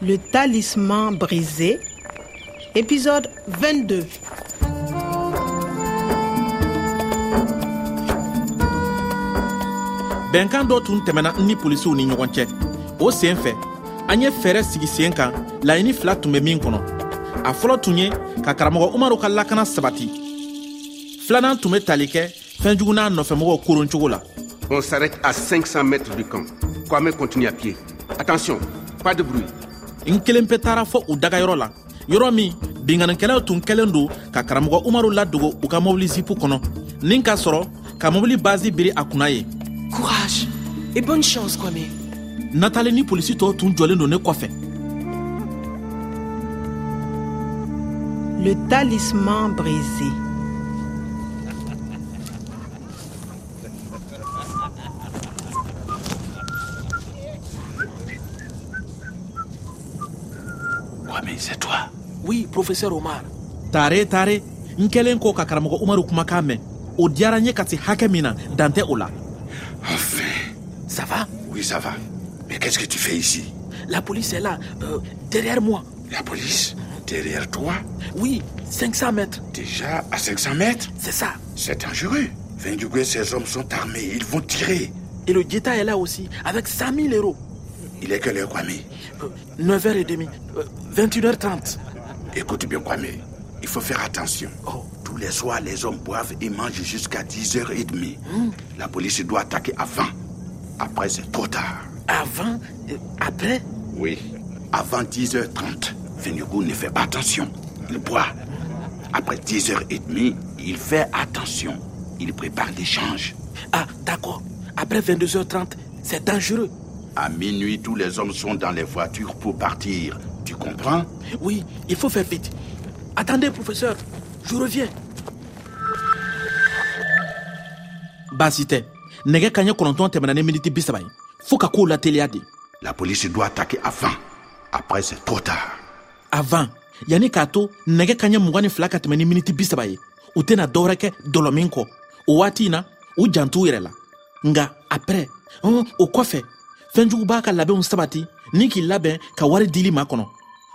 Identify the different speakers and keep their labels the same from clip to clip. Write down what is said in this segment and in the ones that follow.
Speaker 1: Le talisman brisé, épisode 22.
Speaker 2: bɛnkan dɔ tun tɛmɛna n ni polisiw ni ɲɔgɔn cɛ o sen fɛ an ye fɛɛrɛ sigi sen kan laɲini fila tun bɛ min kɔnɔ a fɔlɔ tun ye ka karamɔgɔ umaru ka lakana sabati filanan tun bɛ tali kɛ fɛnjugu n'a nɔfɛmɔgɔw koron cogo la
Speaker 3: On s'arrête à 500 mètres du camp. Kwame continue à pied. Attention, pas de bruit.
Speaker 2: n kelen pe taara fɔ u dagayɔrɔ la yɔrɔ min binganikɛlaw tun kɛlen don ka karamɔgɔ umaru ladogo u ka mɔbili zipu kɔnɔ ni ka sɔrɔ ka mɔbili bazi biri a kunna ye
Speaker 4: Courage et bonne chance, Kwame.
Speaker 2: natalen ni polisi tɔw tun jɔlen don ne kɔfɛ
Speaker 1: Le talisman brisé.
Speaker 5: Kwame, c'est toi.
Speaker 4: Oui, professeur Omar.
Speaker 2: tare tare n kɛlen kɔ ka karamɔgɔ umaru kumakan mɛn o diyara n ye ka se hakɛ min na dan tɛ o la
Speaker 5: Enfin.
Speaker 4: Ça va
Speaker 5: Oui, ça va. Mais qu'est-ce que tu fais ici
Speaker 4: La police est là, euh, derrière moi.
Speaker 5: La police Derrière toi
Speaker 4: Oui, 500 mètres,
Speaker 5: Déjà à 500 mètres
Speaker 4: c'est ça.
Speaker 5: C'est dangereux. Vendugo et ses hommes sont armés. Ils vont tirer.
Speaker 4: Et le Geta est là aussi, avec 100 000 euros.
Speaker 5: Il est que l'heure, Kwame.
Speaker 4: Euh, 9h30, 21h30.
Speaker 5: Écoute bien, Kwame. Il faut faire attention.
Speaker 4: Oh.
Speaker 5: Tous les soirs, les hommes boivent et mangent jusqu'à 10h30. La police doit attaquer avant. Après, c'est trop tard.
Speaker 4: Avant, euh, après
Speaker 5: Oui. Avant 10h30, Fenugu ne fait pas attention. Il boit. Après 10h30, il fait attention. Il prépare l'échange.
Speaker 4: Ah, d'accord. Après 22h30, c'est dangereux.
Speaker 5: À minuit, tous les hommes sont dans les voitures pour partir. Tu comprends
Speaker 4: Oui, il faut faire vite. Attendez, professeur, je reviens.
Speaker 2: baasi tɛ nɛgɛ ka ɲɛ kɔnɔntɔn tɛmɛna ni miniti bisaba ye fɔɔ ka koo lateliya de
Speaker 5: La police doit attaquer avant. Après, c'est trop tard.
Speaker 2: avan yani k'a to nɛgɛ ka ɲɛ mugan ni fila ka tɛmɛ ni miniti bisaba ye u tɛna dɔwɛrɛ kɛ dɔlɔmin kɔ o waati in na u jant'u yɛrɛ la nga aprɛ ɔn, o kɔfɛ fɛnjugu b'a ka labɛnw sabati ni k'i labɛn ka wari dili ma kɔnɔ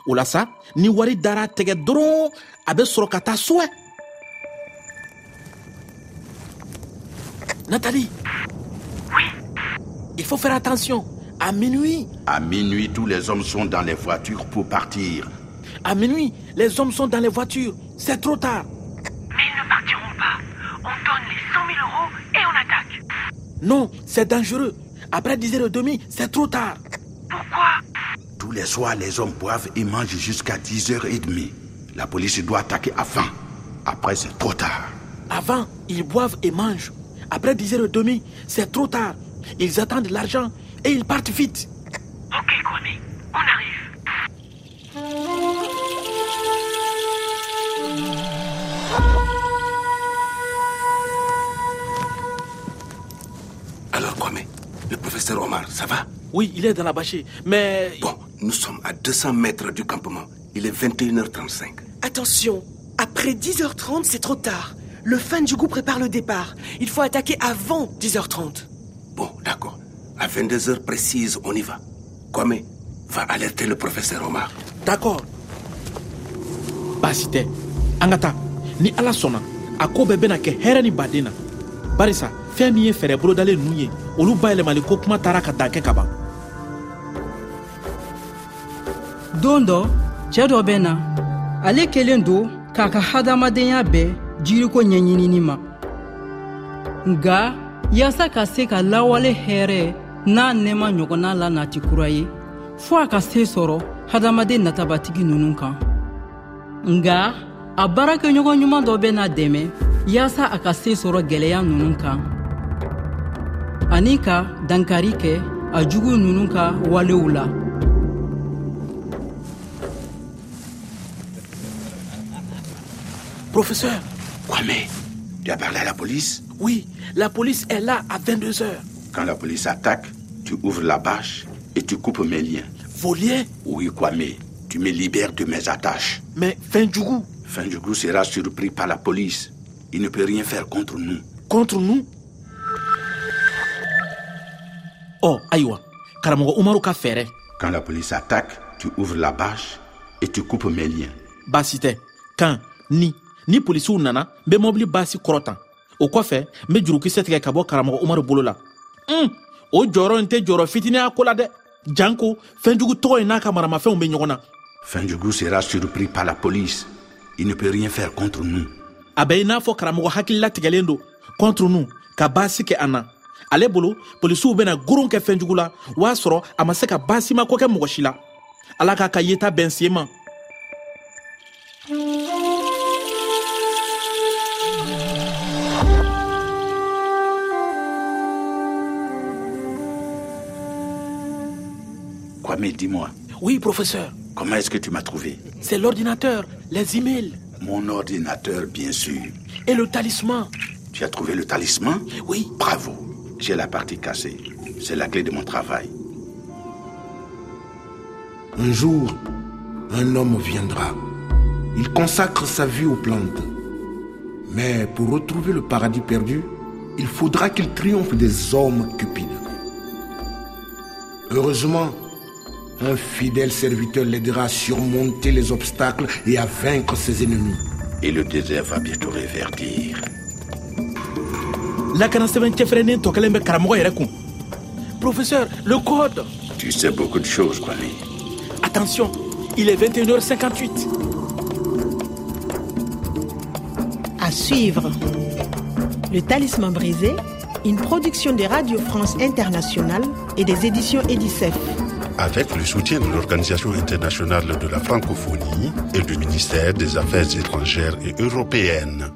Speaker 2: o la sa ni wari dara a tɛgɛ dɔrɔn a bɛ sɔrɔ ka taa sowɛ
Speaker 4: Nathalie Il faut faire attention. À minuit,
Speaker 5: À minuit, tous les hommes sont dans les voitures pour partir.
Speaker 4: à minuit, les hommes sont dans les voitures. C'est trop tard.
Speaker 6: Mais ils ne partiront pas. On donne les 100 000 euros et on attaque.
Speaker 4: Non, c'est dangereux. Après 10h30, c'est trop tard.
Speaker 6: Pourquoi
Speaker 5: Tous les soirs, les hommes boivent et mangent jusqu'à 10h30. La police doit attaquer avant. Après, c'est trop tard.
Speaker 4: Avant, ils boivent et mangent. Après 10h30, c'est trop tard. Ils attendent l'argent et ils partent vite.
Speaker 6: Ok, Kwame, on arrive.
Speaker 7: Alors Kwame, le professeur Omar, ça va
Speaker 4: Oui, il est dans la bâchée. Mais
Speaker 7: Bon, nous sommes à 200 mètres du campement. Il est 21h35.
Speaker 8: Attention, après 10h30, c'est trop tard. Le fan du goût prépare le départ. Il faut attaquer avant 10h30.
Speaker 7: Bon, d'accord. À 22h précise, on y va. Kwame, va alerter le professeur Omar.
Speaker 4: d'accord, Bah,
Speaker 2: baasi tɛ an ka taa ni ala sɔnna a koo bɛɛ bena kɛ hɛrɛ ni baden na barisa fɛɛn min ye fɛɛrɛ bolodalen nunu ye olu bayɛlɛmali ko kuma taara ka dan kɛ ka ban
Speaker 9: don dɔ cɛɛ dɔ bɛ na ale kelen don k'a ka hadamadenya bɛɛ jiriko ɲɛɲinini ma nga yaasa ka se ka lawale hɛɛrɛ n'a nɛɛma ɲɔgɔnna la nati kura ye fɔɔ a ka see sɔrɔ hadamaden natabatigi nunu kan nga a baarakɛɲɔgɔn ɲuman dɔ bɛ na dɛmɛ yaasa a ka see sɔrɔ gwɛlɛya nunu kan ani ka dankari kɛ a jugu nunu ka walew la
Speaker 4: professeur.
Speaker 5: Kwame, tu as parlé à la police
Speaker 4: Oui, la police est là à 22h.
Speaker 5: Quand la police attaque, tu ouvres la bâche et tu coupes mes liens.
Speaker 4: Vos liens
Speaker 5: Oui, Kwame, tu me libères de mes attaches.
Speaker 4: Mais Fendjougou,
Speaker 5: Finjugu sera surpris par la police. Il ne peut rien faire contre nous.
Speaker 4: contre nous
Speaker 2: ɔ ayiwa karamɔgɔ Oh, umaru ka fɛɛrɛ
Speaker 5: Quand la police attaque, tu ouvres la bâche et tu coupes mes liens.
Speaker 2: baasi tɛ kan ni ni polisiw nana n bɛ mɔbili baasi kɔrɔtan o kɔfɛ n bɛ jurukisɛ tigɛ ka bɔ karamɔgɔ umaru bolo la un o jɔyɔrɔ in tɛ jɔyɔrɔ fitiniya ko la dɛ janko fɛnjugu tɔgɔ in n'a ka maramafɛnw bɛ ɲɔgɔn na
Speaker 5: Fendjougou sera surpris par la police. Il ne peut rien faire contre nous.
Speaker 2: a bɛ i n'a fɔ karamɔgɔ hakililatigɛlen don contre nous ka baasi kɛ an na ale bolo polisiw bena goron kɛ fɛnjugu la o y'a sɔrɔ a ma se ka baasima ko kɛ mɔgɔ si la ala k'a ka yeta bɛn sen ma
Speaker 5: Kwame, dis-moi,
Speaker 4: Oui, professeur.
Speaker 5: comment est-ce que tu m'as trouvé
Speaker 4: C'est l'ordinateur, les emails
Speaker 5: Mon ordinateur, bien sûr.
Speaker 4: et le talisman.
Speaker 5: Tu as trouvé le talisman
Speaker 4: Oui.
Speaker 5: Bravo. J'ai la partie cassée. C'est la clé de mon travail.
Speaker 7: Un jour, un homme viendra. Il consacre sa vie aux plantes. Mais pour retrouver le paradis perdu, il faudra qu'il triomphe des hommes cupides. Heureusement, un fidèle serviteur l'aidera à surmonter les obstacles et à vaincre ses ennemis.
Speaker 5: Et le désert va bientôt réverdir.
Speaker 2: lakana sɛbɛn cɛfɛrɛnnen tɔ kelen bɛ karamɔgɔ yɛrɛ kun
Speaker 4: Professeur, le code.
Speaker 5: Tu sais beaucoup de choses, Kwame.
Speaker 4: Attention, il est 21h58.
Speaker 1: À suivre. Le Talisman brisé, une production de Radio France Internationale et des éditions Edicef.
Speaker 10: avec le soutien de l'Organisation internationale de la francophonie et du ministère des Affaires étrangères et européennes.